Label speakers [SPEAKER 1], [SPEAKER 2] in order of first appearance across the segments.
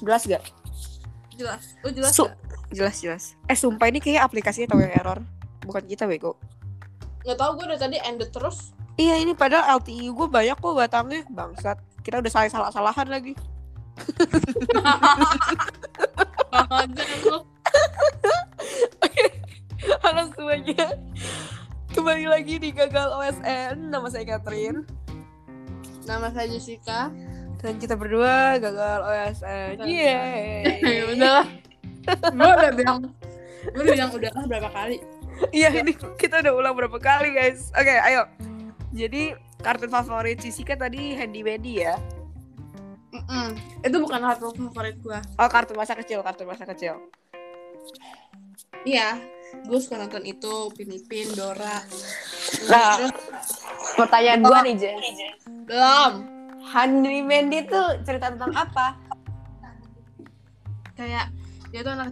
[SPEAKER 1] Jelas gak?
[SPEAKER 2] Jelas. Lu jelas
[SPEAKER 1] Su-
[SPEAKER 2] nggak?
[SPEAKER 1] Jelas, jelas. Eh, sumpah ini kayak aplikasinya tahu yang error. Bukan kita, Bego.
[SPEAKER 2] Nggak tahu gue dari tadi ended terus.
[SPEAKER 1] Iya, ini padahal LTI gue banyak kok batangnya. Bangsat. Kita udah saling salah-salahan lagi.
[SPEAKER 2] Aja lu.
[SPEAKER 1] Halo semuanya. Kembali lagi di Gagal OSN. Nama saya Catherine.
[SPEAKER 2] Nama saya Jessica.
[SPEAKER 1] Dan kita berdua Gagal OSN.
[SPEAKER 2] Ya
[SPEAKER 1] Yeay.
[SPEAKER 2] udahlah. Gue udah bilang gue udah bilang udahlah berapa kali.
[SPEAKER 1] Iya ini kita udah ulang berapa kali guys. Oke ayo. Jadi kartun favorit Jessica tadi Handy Mandy ya.
[SPEAKER 2] Mm-mm. Itu bukan kartu favorit gue.
[SPEAKER 1] Oh kartun masa kecil, kartun masa kecil.
[SPEAKER 2] Iya. Gue suka nonton itu Pinipin, Dora.
[SPEAKER 1] Nah.
[SPEAKER 2] Terus
[SPEAKER 1] Pertanyaan
[SPEAKER 2] gua
[SPEAKER 1] nih Jess.
[SPEAKER 2] belum.
[SPEAKER 1] Handy Mandy tuh cerita tentang apa?
[SPEAKER 2] Kayak dia tuh anak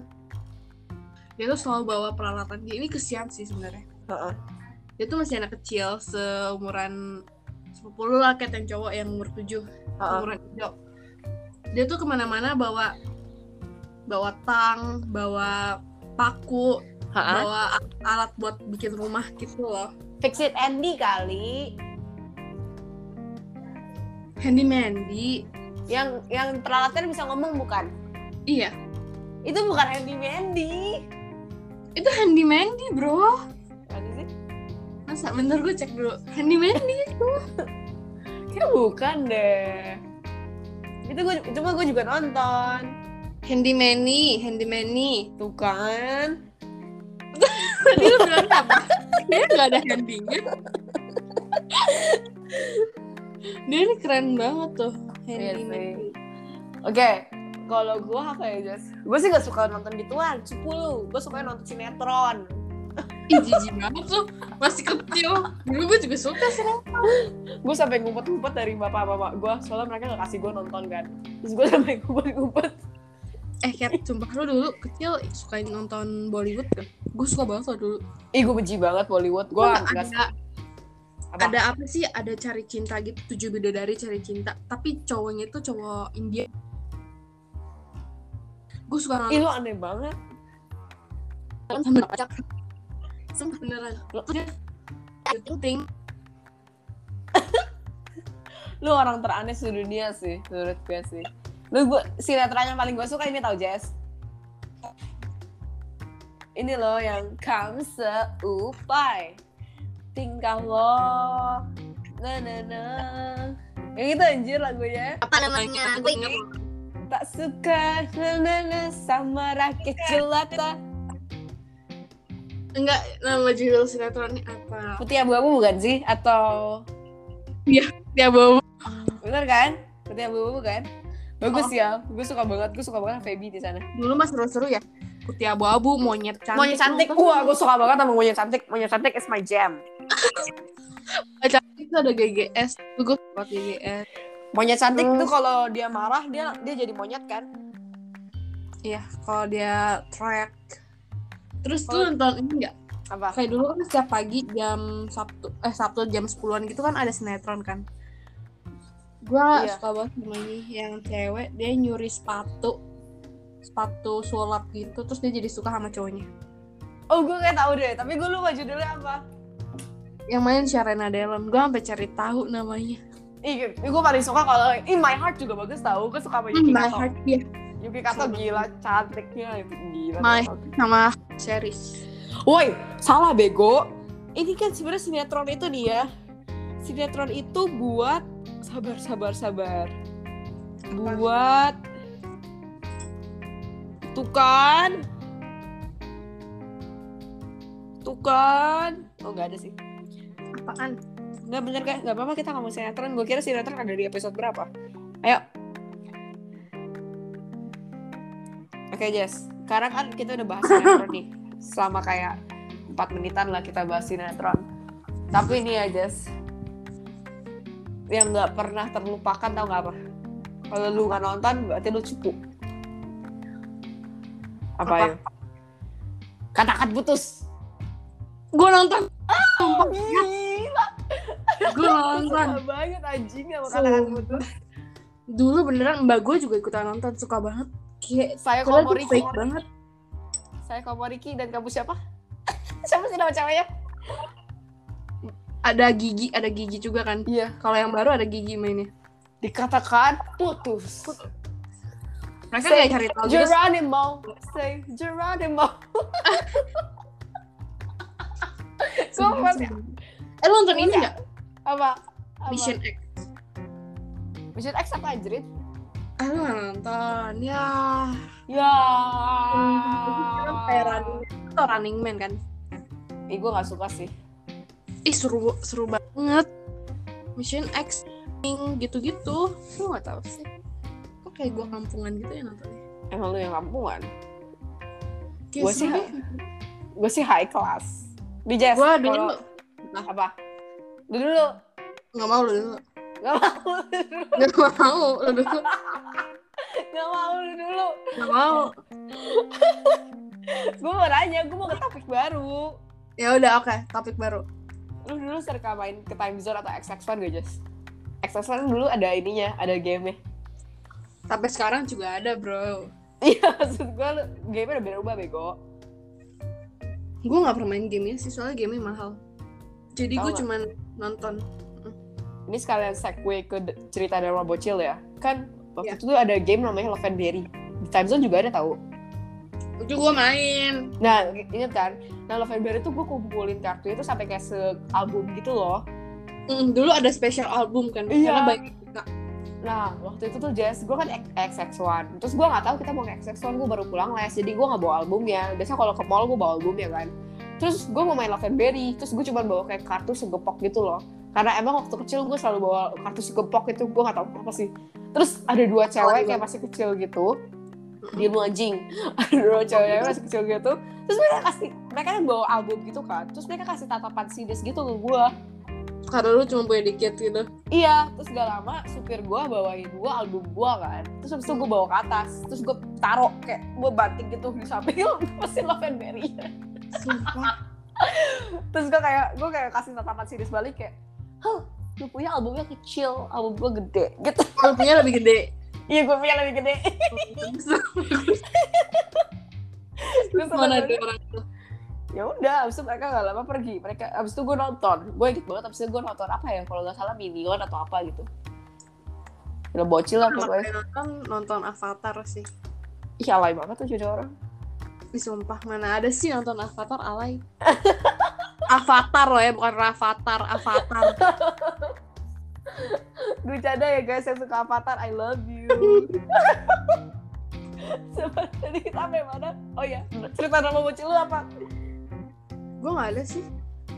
[SPEAKER 2] dia tuh selalu bawa peralatan dia ini kesian sih sebenarnya
[SPEAKER 1] Heeh.
[SPEAKER 2] dia tuh masih anak kecil seumuran sepupu lu lah kayak yang cowok yang umur 7
[SPEAKER 1] Heeh.
[SPEAKER 2] umuran hijau dia tuh kemana-mana bawa bawa tang bawa paku
[SPEAKER 1] Heeh.
[SPEAKER 2] bawa a- alat buat bikin rumah gitu loh
[SPEAKER 1] Fix it Andy kali.
[SPEAKER 2] handy mandy
[SPEAKER 1] Yang yang peralatan bisa ngomong bukan?
[SPEAKER 2] iya
[SPEAKER 1] Itu bukan Handy Mandy.
[SPEAKER 2] itu handy mandy bro
[SPEAKER 1] Apa sih?
[SPEAKER 2] masa bentar gue cek dulu handy mandy
[SPEAKER 1] Kayaknya bukan deh. Itu gue cuma gue juga nonton.
[SPEAKER 2] handy mandy handy mandy
[SPEAKER 1] Tuh kan.
[SPEAKER 2] tadi lu bilang apa dia nggak ada handynya dia ini keren banget tuh
[SPEAKER 1] Iya
[SPEAKER 2] handy
[SPEAKER 1] sih.
[SPEAKER 2] mandy
[SPEAKER 1] Oke, kalau gue apa ya, Jess? Gue sih gak suka nonton gituan, 10. Gue suka nonton sinetron.
[SPEAKER 2] Ih jijik banget tuh Masih kecil Dulu gue juga suka sih
[SPEAKER 1] Gue sampai ngumpet-ngumpet dari bapak-bapak gue, soalnya mereka gak kasih gue nonton kan. Terus gue sampai ngumpet-ngumpet.
[SPEAKER 2] Eh Kat, sumpah lu dulu kecil suka nonton Bollywood kan? Gue suka banget loh dulu
[SPEAKER 1] Ih, gue benci banget Bollywood. Gue
[SPEAKER 2] Wah,
[SPEAKER 1] gak
[SPEAKER 2] ada,
[SPEAKER 1] apa?
[SPEAKER 2] ada apa sih? Ada cari cinta gitu Tujuh bidadari cari cinta Tapi cowoknya itu cowok India Gue suka
[SPEAKER 1] Ih,
[SPEAKER 2] nonton
[SPEAKER 1] lu aneh banget.
[SPEAKER 2] sama kocak Sumpah beneran Terus dia Ting-ting.
[SPEAKER 1] Lu orang teraneh sedunia sih, menurut gue sih. Lu gua, sinetron yang paling gue suka ini tau, Jess? Ini loh yang kamu seupai. Tingkah lo. Na na na. Yang itu anjir lagunya.
[SPEAKER 2] Apa namanya? Gue inget
[SPEAKER 1] Tak suka na na na sama rakyat jelata.
[SPEAKER 2] Enggak, nama judul sinetronnya apa?
[SPEAKER 1] Putih abu-abu bukan sih? Atau
[SPEAKER 2] Dia bawa
[SPEAKER 1] bener kan? Putih abu-abu kan? Bagus
[SPEAKER 2] Oh.
[SPEAKER 1] ya, gue suka banget, gue suka banget Feby di sana.
[SPEAKER 2] dulu mas seru-seru ya putih abu-abu monyet cantik
[SPEAKER 1] Monyet cantik, wah gue suka banget sama monyet cantik. Monyet cantik is my jam.
[SPEAKER 2] Monyet cantik itu ada GGS Tuh gue suka banget GGS
[SPEAKER 1] Monyet cantik
[SPEAKER 2] Terus-
[SPEAKER 1] tuh kalau dia marah dia dia jadi monyet kan?
[SPEAKER 2] iya kalau dia track terus
[SPEAKER 1] Oh.
[SPEAKER 2] tuh nonton ini enggak
[SPEAKER 1] Apa?
[SPEAKER 2] kayak dulu kan setiap pagi jam Sabtu eh Sabtu jam 10-an gitu kan ada sinetron kan gue
[SPEAKER 1] Iya.
[SPEAKER 2] suka banget sama ini yang cewek dia nyuri sepatu sepatu sulap gitu terus dia jadi suka sama cowoknya
[SPEAKER 1] Oh gue kayak tahu deh, tapi gue lupa judulnya apa.
[SPEAKER 2] yang main Sharena Delon gue sampai cari tahu namanya
[SPEAKER 1] Ih, gue paling suka kalau In My Heart juga bagus tau. Gue suka sama Yuki
[SPEAKER 2] Hmm, My
[SPEAKER 1] Kato.
[SPEAKER 2] Heart dia
[SPEAKER 1] Yuki Kato gila cantiknya gila.
[SPEAKER 2] My-
[SPEAKER 1] tau.
[SPEAKER 2] sama series
[SPEAKER 1] Woi, salah bego. Ini kan sebenarnya sinetron itu nih ya. Sinetron itu buat sabar sabar sabar. Buat tukan. Tukan. Oh nggak ada sih.
[SPEAKER 2] apaan
[SPEAKER 1] Nggak bener kan? Nggak apa-apa kita ngomong sinetron. Gue kira sinetron ada di episode berapa. Ayo. Oke Jess, sekarang kan kita udah bahas sinetron nih. Selama kayak 4 menitan lah kita bahas sinetron. Tapi ini ya Jess, yang nggak pernah terlupakan tau nggak apa? Kalau lu nggak nonton berarti lu cupu. Apa,
[SPEAKER 2] Apa?
[SPEAKER 1] ya? Katakan putus.
[SPEAKER 2] gue nonton
[SPEAKER 1] Gila,
[SPEAKER 2] gue nonton
[SPEAKER 1] banget anjing sama
[SPEAKER 2] Katakan
[SPEAKER 1] putus.
[SPEAKER 2] dulu beneran mbak gue juga ikutan nonton suka banget kayak
[SPEAKER 1] Saya kalau
[SPEAKER 2] padahal itu
[SPEAKER 1] Ricky.
[SPEAKER 2] fake banget
[SPEAKER 1] Saya Komo Riki dan kamu siapa? siapa sih nama ceweknya?
[SPEAKER 2] ada gigi ada gigi juga kan
[SPEAKER 1] Iya.
[SPEAKER 2] kalau yang baru ada gigi mainnya
[SPEAKER 1] Dikatakan putus.
[SPEAKER 2] mereka
[SPEAKER 1] Say,
[SPEAKER 2] kayak cari tahu gitu
[SPEAKER 1] Geronimo. Say Geronimo. Gue masih
[SPEAKER 2] eh lo nonton ini nggak
[SPEAKER 1] apa? apa?
[SPEAKER 2] Mission X
[SPEAKER 1] Mission X apa Jrit?
[SPEAKER 2] ah lo nggak nonton ya
[SPEAKER 1] Ya.
[SPEAKER 2] Sekarang kayak
[SPEAKER 1] Oh.
[SPEAKER 2] running man Lo tau running man kan
[SPEAKER 1] Ih, gue gak suka sih.
[SPEAKER 2] ih seru seru banget Mission X gitu-gitu lo nggak tahu sih kok kayak gue kampungan gitu ya nontonnya
[SPEAKER 1] Emang lu yang kampungan?
[SPEAKER 2] Kayak
[SPEAKER 1] Gua sih
[SPEAKER 2] seru
[SPEAKER 1] ha- Gue sih high class. Di Jess,
[SPEAKER 2] gue dulu
[SPEAKER 1] kalau- Apa? Dulu dulu.
[SPEAKER 2] nggak mau lo dulu
[SPEAKER 1] Gak mau lu dulu.
[SPEAKER 2] nggak mau lo dulu
[SPEAKER 1] Gak mau lu dulu.
[SPEAKER 2] nggak mau
[SPEAKER 1] Gue mau nanya, gue mau ke topik baru.
[SPEAKER 2] ya udah oke topik baru
[SPEAKER 1] Lu dulu suka main ke Time Zone atau XX1 gak, Jess? XX1 dulu ada ininya, ada game-nya.
[SPEAKER 2] tapi sekarang juga ada bro
[SPEAKER 1] Iya, maksud gue lu, game-nya udah berubah, Bego.
[SPEAKER 2] gue nggak pernah main gamenya sih soalnya gamenya mahal jadi
[SPEAKER 1] Tau
[SPEAKER 2] gue
[SPEAKER 1] nggak?
[SPEAKER 2] cuman nonton
[SPEAKER 1] Ini sekalian segue ke d- cerita dari Robo Chill ya. Kan waktu
[SPEAKER 2] Iya.
[SPEAKER 1] itu tuh ada game namanya Love and Berry. Di Time Zone juga ada tau.
[SPEAKER 2] itu gue main
[SPEAKER 1] Nah, inget kan? Nah, Love and Berry tuh gue kumpulin kartu itu sampai kayak se-album gitu loh.
[SPEAKER 2] Mm, dulu ada special album kan
[SPEAKER 1] Iya.
[SPEAKER 2] karena banyak
[SPEAKER 1] Nah, waktu itu tuh Jess, gue kan XX1. Terus gue nggak tahu kita mau ke XX1, gue baru pulang les. Jadi gue nggak bawa albumnya. Biasanya kalau ke mall gue bawa albumnya kan. Terus gue mau main Love and Berry. Terus gue cuma bawa kayak kartu segepok gitu loh. Karena emang waktu kecil gue selalu bawa kartu segepok itu. Gue nggak tahu apa sih. Terus ada dua
[SPEAKER 2] Oh,
[SPEAKER 1] cewek
[SPEAKER 2] iya.
[SPEAKER 1] kayak masih kecil gitu. Dia mau anjing. Ada dua cewek masih kecil gitu. Terus mereka kasih, mereka yang bawa album gitu kan. Terus mereka kasih tatapan sinis gitu ke gue.
[SPEAKER 2] karena lu cuma punya dikit gitu
[SPEAKER 1] Iya, terus gak lama supir gue bawain gue album gue kan. Terus habis itu gue bawa ke atas, terus gue taruh kayak gue banting gitu di samping mesin Love and Berry.
[SPEAKER 2] Sumpah.
[SPEAKER 1] Terus gue kayak gue kayak kasih tatapan sinis balik kayak, huh, lu punya albumnya kecil, album gue gede gitu.
[SPEAKER 2] albumnya lebih gede
[SPEAKER 1] Iya gue punya lebih gede. terus temen-temen,
[SPEAKER 2] mana ada orang tuh
[SPEAKER 1] ya udah, abis itu mereka gak lama pergi. Mereka abis itu gue nonton, gue inget banget abis itu gue nonton apa ya kalau nggak salah Minion atau apa gitu. Udah bocil lah
[SPEAKER 2] Pertama
[SPEAKER 1] pokoknya.
[SPEAKER 2] kali nonton nonton Avatar sih
[SPEAKER 1] Ih alay banget tuh jadi orang.
[SPEAKER 2] Ih, sumpah mana ada sih nonton Avatar alay Avatar loh ya bukan Ravatar Avatar
[SPEAKER 1] Bercanda ya guys yang suka Avatar, I love you. Sampai tadi kita sampai mana? Oh ya, cerita nama bocil lu apa?
[SPEAKER 2] gue gak ada sih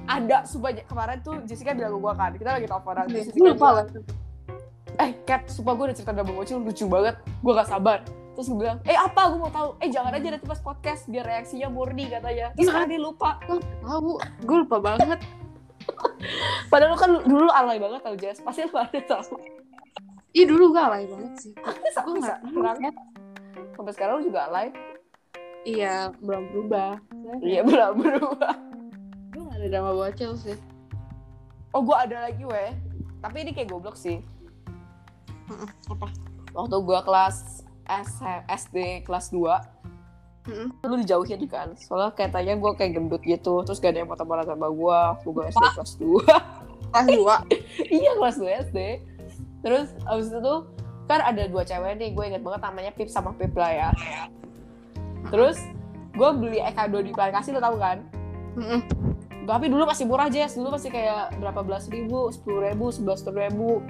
[SPEAKER 1] Ada sebanyak kemarin tuh Jessica bilang ke gua kan, kita lagi teleponan. Terus
[SPEAKER 2] gue
[SPEAKER 1] Jessica bilang,
[SPEAKER 2] Iya, lupa lah
[SPEAKER 1] Eh Kat, sumpah gue udah cerita nama bocil lucu banget, gua gak sabar. Terus gue bilang, eh apa? Gue mau tahu. Eh jangan aja nanti pas podcast biar reaksinya murni katanya. Terus
[SPEAKER 2] Iya.
[SPEAKER 1] kan dia lupa.
[SPEAKER 2] tahu gue lupa banget
[SPEAKER 1] Padahal lu kan dulu alay banget tau Jess. Pasti lu ada tau.
[SPEAKER 2] Ih Iya, dulu gue alay banget sih. Gue
[SPEAKER 1] Sampai
[SPEAKER 2] nggak
[SPEAKER 1] sekarang,
[SPEAKER 2] tahu ya.
[SPEAKER 1] sampai sekarang lu juga alay.
[SPEAKER 2] Iya belum berubah.
[SPEAKER 1] Iya belum berubah.
[SPEAKER 2] Gue gak ada drama bocil sih.
[SPEAKER 1] Oh, gue ada lagi, weh. Tapi ini kayak goblok sih.
[SPEAKER 2] Apa?
[SPEAKER 1] Waktu gue kelas S- SD kelas 2, lu dijauhin kan? Soalnya katanya gue kayak gendut gitu, terus gak ada yang mau temenan sama gue waktu gue SD kelas 2.
[SPEAKER 2] Kelas dua.
[SPEAKER 1] iya, kelas 2 SD. Terus abis itu tuh, kan ada dua cewek nih, gue inget banget namanya Pip sama Pip lah ya. Terus, gue beli Ekado di Plankasi, lo tau kan?
[SPEAKER 2] Mm-mm.
[SPEAKER 1] Tapi dulu masih murah, Jess. Dulu masih kayak berapa belas ribu, sepuluh ribu, sebelas ribu.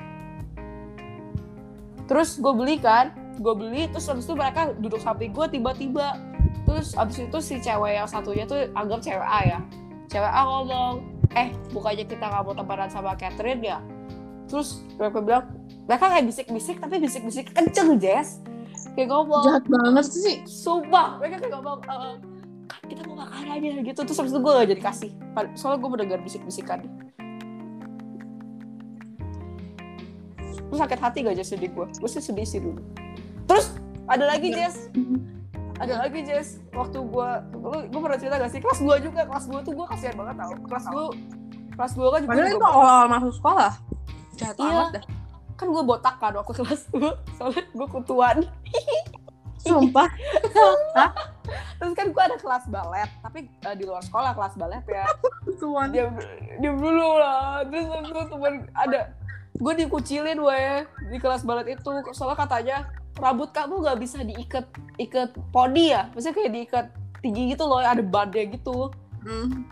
[SPEAKER 1] Terus gue beli kan, gue beli, terus habis itu mereka duduk samping gue tiba-tiba. Terus abis itu si cewek yang satunya tuh anggap cewek A ya. Cewek A ngomong, eh bukannya kita nggak mau temenan sama Catherine ya? Terus mereka bilang, mereka kayak bisik-bisik, tapi bisik-bisik kenceng, Jess. Kayak ngomong,
[SPEAKER 2] Jahat banget sih.
[SPEAKER 1] sumpah mereka kayak ngomong "Eh, Kak, kita mau makan aja gitu terus habis itu gue gak jadi kasih Pad- soalnya gue mendengar bisik-bisikan terus sakit hati gak Jess sedih gue gue sih sedih sih dulu terus ada lagi Jess ada lagi Jess waktu gue lu gue pernah cerita gak sih kelas 2 juga kelas 2 tuh gue kasihan banget tau kelas 2 kelas 2 kan juga
[SPEAKER 2] Padahal itu awal-awal masuk sekolah. Jahat
[SPEAKER 1] Iya.
[SPEAKER 2] banget dah.
[SPEAKER 1] kan gue botak kan waktu kelas dua soalnya gue kutuan
[SPEAKER 2] Sumpah.
[SPEAKER 1] terus kan gue ada kelas balet tapi eh, di luar sekolah kelas balet ya
[SPEAKER 2] Tuan.
[SPEAKER 1] dia dia dulu lah terus itu teman ada gue dikucilin weh di kelas balet itu soalnya katanya rambut kamu nggak bisa diikat ikat podi ya maksudnya kayak diikat tinggi gitu loh ada bandnya gitu
[SPEAKER 2] Hmm.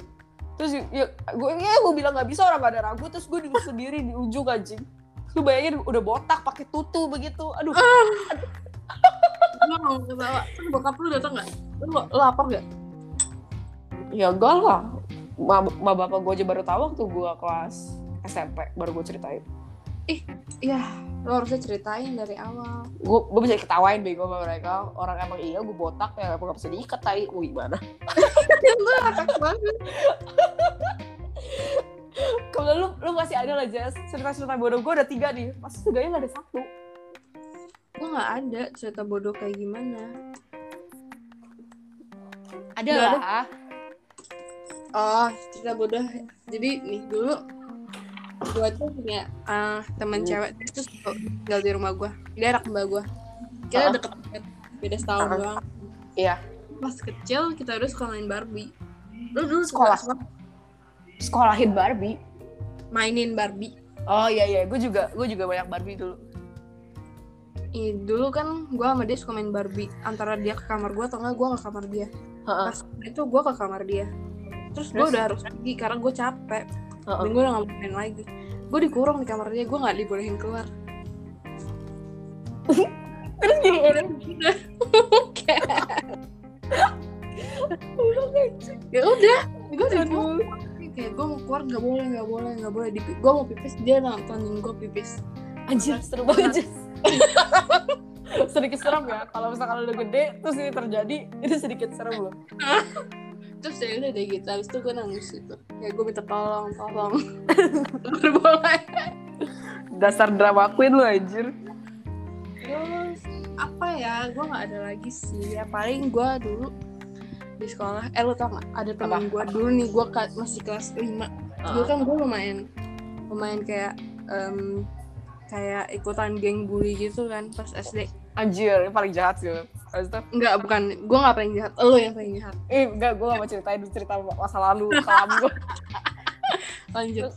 [SPEAKER 1] terus ya gue ya gue bilang nggak bisa orang gak ada rambut terus gue duduk sendiri di ujung anjing lu bayangin udah botak pakai tutu begitu aduh
[SPEAKER 2] Lu mau ketawa. Terus bokap lu datang nggak? Lu lu lapar nggak?
[SPEAKER 1] ya enggak lah ma, ma bapak gue aja baru tahu waktu gue kelas SMP baru gue ceritain
[SPEAKER 2] Iya. Lu harusnya ceritain dari awal.
[SPEAKER 1] gue gue bisa ketawain bego sama mereka orang emang iya gue botak ya emang gak bisa diikat tai gue gimana
[SPEAKER 2] lu ngakak banget.
[SPEAKER 1] kalau lu lu masih ada lah Jess cerita cerita bodoh gue ada tiga nih pas seenggaknya gak ada satu
[SPEAKER 2] Gua nggak ada cerita bodoh kayak gimana.
[SPEAKER 1] ada
[SPEAKER 2] Nggak
[SPEAKER 1] lah
[SPEAKER 2] Oh, cerita bodoh. Jadi nih dulu gua tuh punya ah, teman
[SPEAKER 1] Hmm.
[SPEAKER 2] cewek terus tinggal di rumah gua. Dia anak mbak gua.
[SPEAKER 1] Ah.
[SPEAKER 2] Kita deket deket beda setahun
[SPEAKER 1] Ah.
[SPEAKER 2] doang.
[SPEAKER 1] Iya.
[SPEAKER 2] Pas kecil kita udah suka main Barbie. Lu dulu
[SPEAKER 1] Sekolah.
[SPEAKER 2] suka- suka
[SPEAKER 1] sekolahin Barbie
[SPEAKER 2] mainin Barbie.
[SPEAKER 1] oh iya iya gue juga gue juga banyak Barbie dulu
[SPEAKER 2] Ih, dulu kan gue sama dia suka main Barbie antara dia ke kamar gue atau enggak gue ke kamar dia
[SPEAKER 1] Heeh,
[SPEAKER 2] pas itu gue ke kamar dia terus gue
[SPEAKER 1] Terus?
[SPEAKER 2] udah harus pergi karena gue capek
[SPEAKER 1] heeh.
[SPEAKER 2] dan gue udah gak mau main lagi gue dikurung di kamar dia gue nggak dibolehin keluar
[SPEAKER 1] terus gimana
[SPEAKER 2] oke ya udah gue
[SPEAKER 1] Aduh.
[SPEAKER 2] dikurung kayak gue mau keluar nggak boleh nggak boleh nggak boleh gue mau pipis dia nontonin gue pipis
[SPEAKER 1] Anjir, seru banget Jess. sedikit serem ya kalau misalkan udah gede terus ini terjadi itu sedikit serem loh
[SPEAKER 2] terus ya udah deh gitu habis itu gue nangis gitu kayak gue minta tolong tolong berboleh
[SPEAKER 1] dasar drama queen lu anjir
[SPEAKER 2] terus apa ya gue nggak ada lagi sih ya paling gue dulu di sekolah eh lu tau gak ada
[SPEAKER 1] Apa?
[SPEAKER 2] teman
[SPEAKER 1] Ah.
[SPEAKER 2] gue dulu nih gue masih kelas 5 dulu kan gue lumayan lumayan kayak em, kayak ikutan geng bully gitu kan pas SD
[SPEAKER 1] anjir ini paling jahat sih lu. Habis itu
[SPEAKER 2] enggak bukan gue nggak paling jahat lo yang paling jahat
[SPEAKER 1] eh enggak gue gak mau ceritain cerita masa lalu kelam gue
[SPEAKER 2] lanjut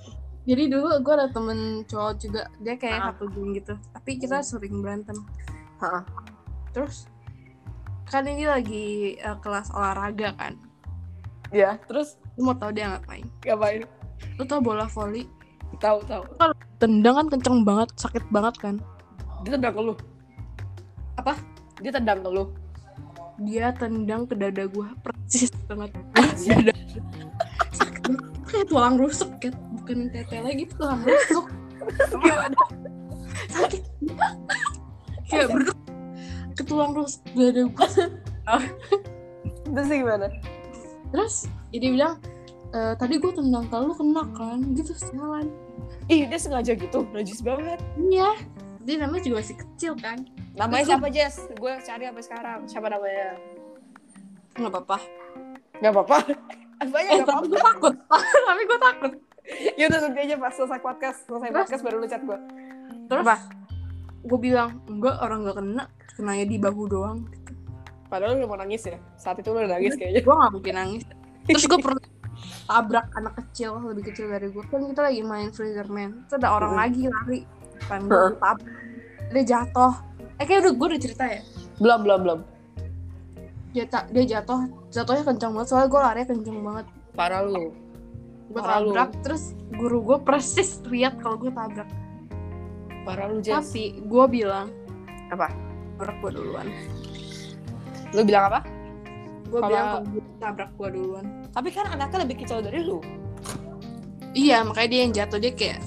[SPEAKER 2] jadi dulu gue ada temen cowok juga dia kayak
[SPEAKER 1] Ah.
[SPEAKER 2] satu geng gitu tapi kita sering berantem
[SPEAKER 1] Ah.
[SPEAKER 2] terus kan ini lagi eh, kelas olahraga kan
[SPEAKER 1] ya terus
[SPEAKER 2] lu mau tau dia ngapain
[SPEAKER 1] ngapain
[SPEAKER 2] lu tau bola voli
[SPEAKER 1] tahu tahu
[SPEAKER 2] tendang kan kenceng banget sakit banget kan
[SPEAKER 1] dia tendang ke lu
[SPEAKER 2] Apa?
[SPEAKER 1] dia tendang ke lu
[SPEAKER 2] dia tendang ke dada gua persis banget
[SPEAKER 1] Iya.
[SPEAKER 2] dada sakit banget. kayak tulang rusuk kayak bukan tete lagi tulang rusuk sakit kayak berduk ke tulang rusuk dada gua
[SPEAKER 1] terus gimana
[SPEAKER 2] terus ya dia bilang "Eh, tadi gua tendang ke lu kena kan gitu jalan
[SPEAKER 1] ih dia sengaja gitu najis banget
[SPEAKER 2] iya dia namanya juga masih kecil kan
[SPEAKER 1] namanya
[SPEAKER 2] siapa,
[SPEAKER 1] Jess gue cari sampai sekarang siapa namanya
[SPEAKER 2] nggak apa-apa
[SPEAKER 1] nggak apa-apa banyak
[SPEAKER 2] eh
[SPEAKER 1] nggak apa-apa
[SPEAKER 2] tapi gue takut tapi gue takut
[SPEAKER 1] ya udah nanti aja pas selesai podcast selesai
[SPEAKER 2] Terus?
[SPEAKER 1] podcast baru lu chat gue
[SPEAKER 2] terus
[SPEAKER 1] Apa?
[SPEAKER 2] gue bilang enggak orang nggak kena kenanya di bahu doang
[SPEAKER 1] padahal lu mau nangis ya saat itu lu udah nangis kayaknya
[SPEAKER 2] gue nggak mungkin nangis terus gue pernah tabrak anak kecil lebih kecil dari gue kan kita lagi main Freezerman terus ada orang
[SPEAKER 1] Mm.
[SPEAKER 2] lagi lari kan gue tabrak dia jatuh eh kayak udah gue udah cerita ya
[SPEAKER 1] belum belum belum
[SPEAKER 2] dia ta- dia jatuh jatuhnya kencang banget soalnya gue larinya kencang banget
[SPEAKER 1] parah lu
[SPEAKER 2] gue
[SPEAKER 1] Parah lu.
[SPEAKER 2] tabrak terus guru gue persis lihat kalau gue tabrak
[SPEAKER 1] parah lu
[SPEAKER 2] tapi gue bilang
[SPEAKER 1] apa
[SPEAKER 2] tabrak gue duluan
[SPEAKER 1] lu bilang apa
[SPEAKER 2] gue
[SPEAKER 1] Kalau-
[SPEAKER 2] bilang kalau guru tabrak gue duluan
[SPEAKER 1] tapi kan anaknya lebih kecil dari lu
[SPEAKER 2] Iya, makanya dia yang jatuh dia kayak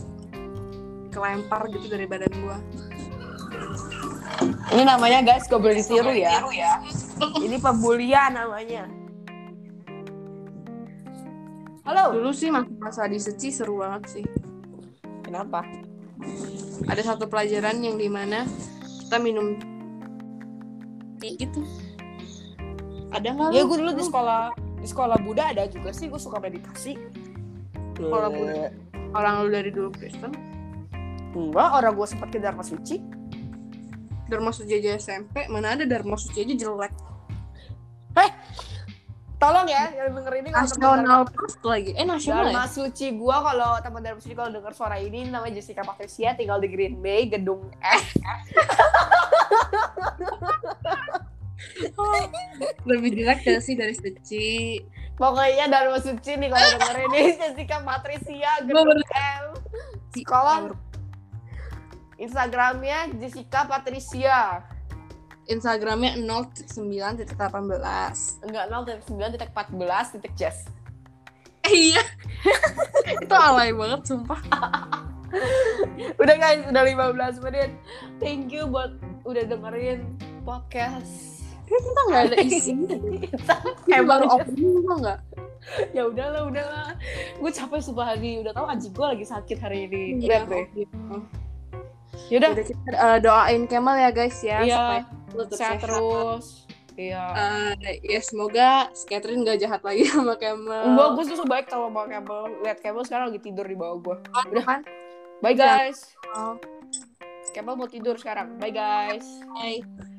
[SPEAKER 2] kelempar gitu dari badan gua.
[SPEAKER 1] ini namanya guys gak boleh ditiru ya ini pembulian namanya halo
[SPEAKER 2] Dulu sih masa diseci seru banget sih.
[SPEAKER 1] kenapa
[SPEAKER 2] Ada satu pelajaran yang dimana kita minum kayak gitu. Ada nggak?
[SPEAKER 1] ya
[SPEAKER 2] lu?
[SPEAKER 1] gue dulu di sekolah di sekolah Buddha ada juga sih gue suka meditasi
[SPEAKER 2] Sekolah Buddha. orang lu dari dulu Kristen.
[SPEAKER 1] Enggak, orang gue sempat ke Dharma Suci.
[SPEAKER 2] Dharma Suci aja SMP, mana ada Dharma Suci aja jelek.
[SPEAKER 1] Tolong ya, yang denger ini kalau teman Dharma,
[SPEAKER 2] Nasional plus lagi. Eh nasional ya?
[SPEAKER 1] Dharma Suci gue kalau teman Dharma Suci kalau denger suara ini namanya Jessica Patricia tinggal di Green Bay, gedung F.
[SPEAKER 2] Lebih jelek gak sih dari Suci?
[SPEAKER 1] Pokoknya Dharma Suci nih kalau denger ini Jessica Patricia, gedung F. Sekolah Instagramnya Jessica Patricia.
[SPEAKER 2] Instagramnya 09.18
[SPEAKER 1] Enggak 0.9 titik 14 titik Jess.
[SPEAKER 2] Iya Itu alay banget sumpah
[SPEAKER 1] Udah guys, udah 15 menit. Thank you buat udah dengerin podcast.
[SPEAKER 2] Kita nggak ada isinya Kayak baru opening tau nggak?
[SPEAKER 1] ya udahlah, udahlah. Gue capek sumpah hari. Udah tahu anjing gue lagi sakit hari ini.
[SPEAKER 2] Iya,
[SPEAKER 1] Lihat deh.
[SPEAKER 2] gitu.
[SPEAKER 1] Yaudah,
[SPEAKER 2] Yaudah, kita eh, doain Kemal ya guys ya
[SPEAKER 1] Iya,
[SPEAKER 2] supaya lu tetap
[SPEAKER 1] sehat terus. Iya.
[SPEAKER 2] Eh, ya semoga si Catherine gak jahat lagi sama Kemal
[SPEAKER 1] Enggak, gue tuh baik kalau mau kabel. Lihat kabel sekarang lagi tidur di bawah gue.
[SPEAKER 2] udah kan
[SPEAKER 1] Bye guys.
[SPEAKER 2] Oh.
[SPEAKER 1] Kemal mau tidur sekarang. Bye guys.
[SPEAKER 2] Bye.